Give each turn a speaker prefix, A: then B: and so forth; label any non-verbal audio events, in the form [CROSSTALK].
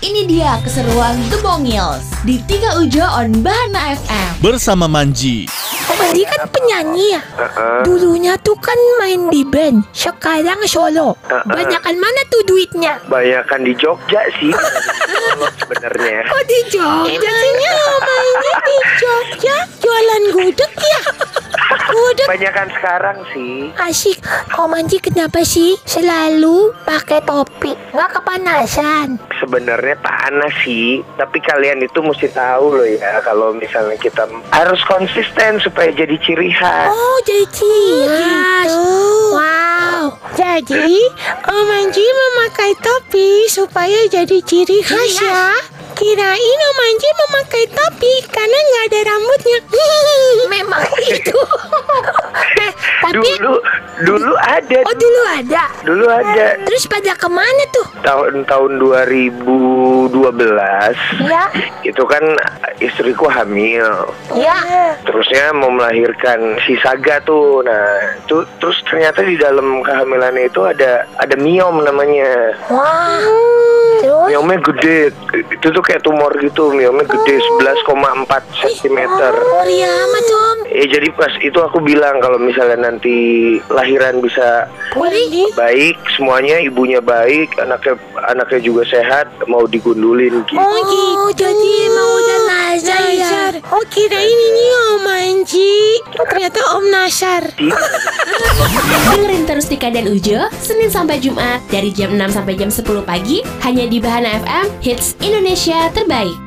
A: Ini dia keseruan The Bongils di Tiga Ujo on Bahana FM.
B: bersama Manji.
C: Manji kan penyanyi ya
D: Eh,
C: Dulunya tuh kan main di band Sekarang solo Banyakan mana tuh duitnya
D: Banyakan di Jogja
C: [LAUGHS]
D: sih kalau sebenarnya.
C: Oh di Jogja Oh,
E: Emangnya mainnya di Jogja jualan gudeg ya? Gudeg
D: Banyakan sekarang sih.
C: Asik Kau Manji kenapa sih Selalu pakai topi Nggak kepanasan
D: Sebenarnya panas sih, tapi kalian itu mesti tahu loh ya kalau misalnya kita harus konsisten supaya jadi ciri khas.
C: Oh jadi cias
E: tuh.
C: Iya, Wow
E: gitu. Jadi Om Anji memakai topi supaya jadi ciri khas
C: Iya.
E: ya. Kirain Om Anji memakai topi karena nggak ada rambutnya. [LAUGHS]
C: Memang itu
E: Eh,
C: Nah, Tapi
D: Dulu dulu ada.
C: Oh dulu ada
D: Dulu ada
C: Terus pada kemana tuh
D: tahun-tahun 2012
C: Ya
D: itu kan istriku hamil.
C: Ya
D: Terusnya mau melahirkan si Saga tuh. Nah, itu terus ternyata di dalam kehamilannya itu ada ada miom namanya.
E: Oh.
C: Wah Terus
D: Miomnya gede. Itu tuh kayak tumor gitu. Miomnya gede 11,4 cm.
E: Oh,
C: Sorry
E: iya
C: amat om
D: Ya jadi pas itu aku bilang kalau misalnya nanti lahiran bisa
C: Boleh
D: baik, semuanya ibunya baik, anaknya anaknya juga sehat, mau digundulin gitu.
C: Oh gitu Jadi emang udah nazar ya
E: Nazar. Oh kirain ini Om Anji.
C: Oh,
E: Ternyata Om Nasar.
A: Dengerin terus Tika dan Ujo Senin sampai Jumat dari jam 6 sampai jam 10 pagi hanya di Bahana FM Hits Indonesia Terbaik.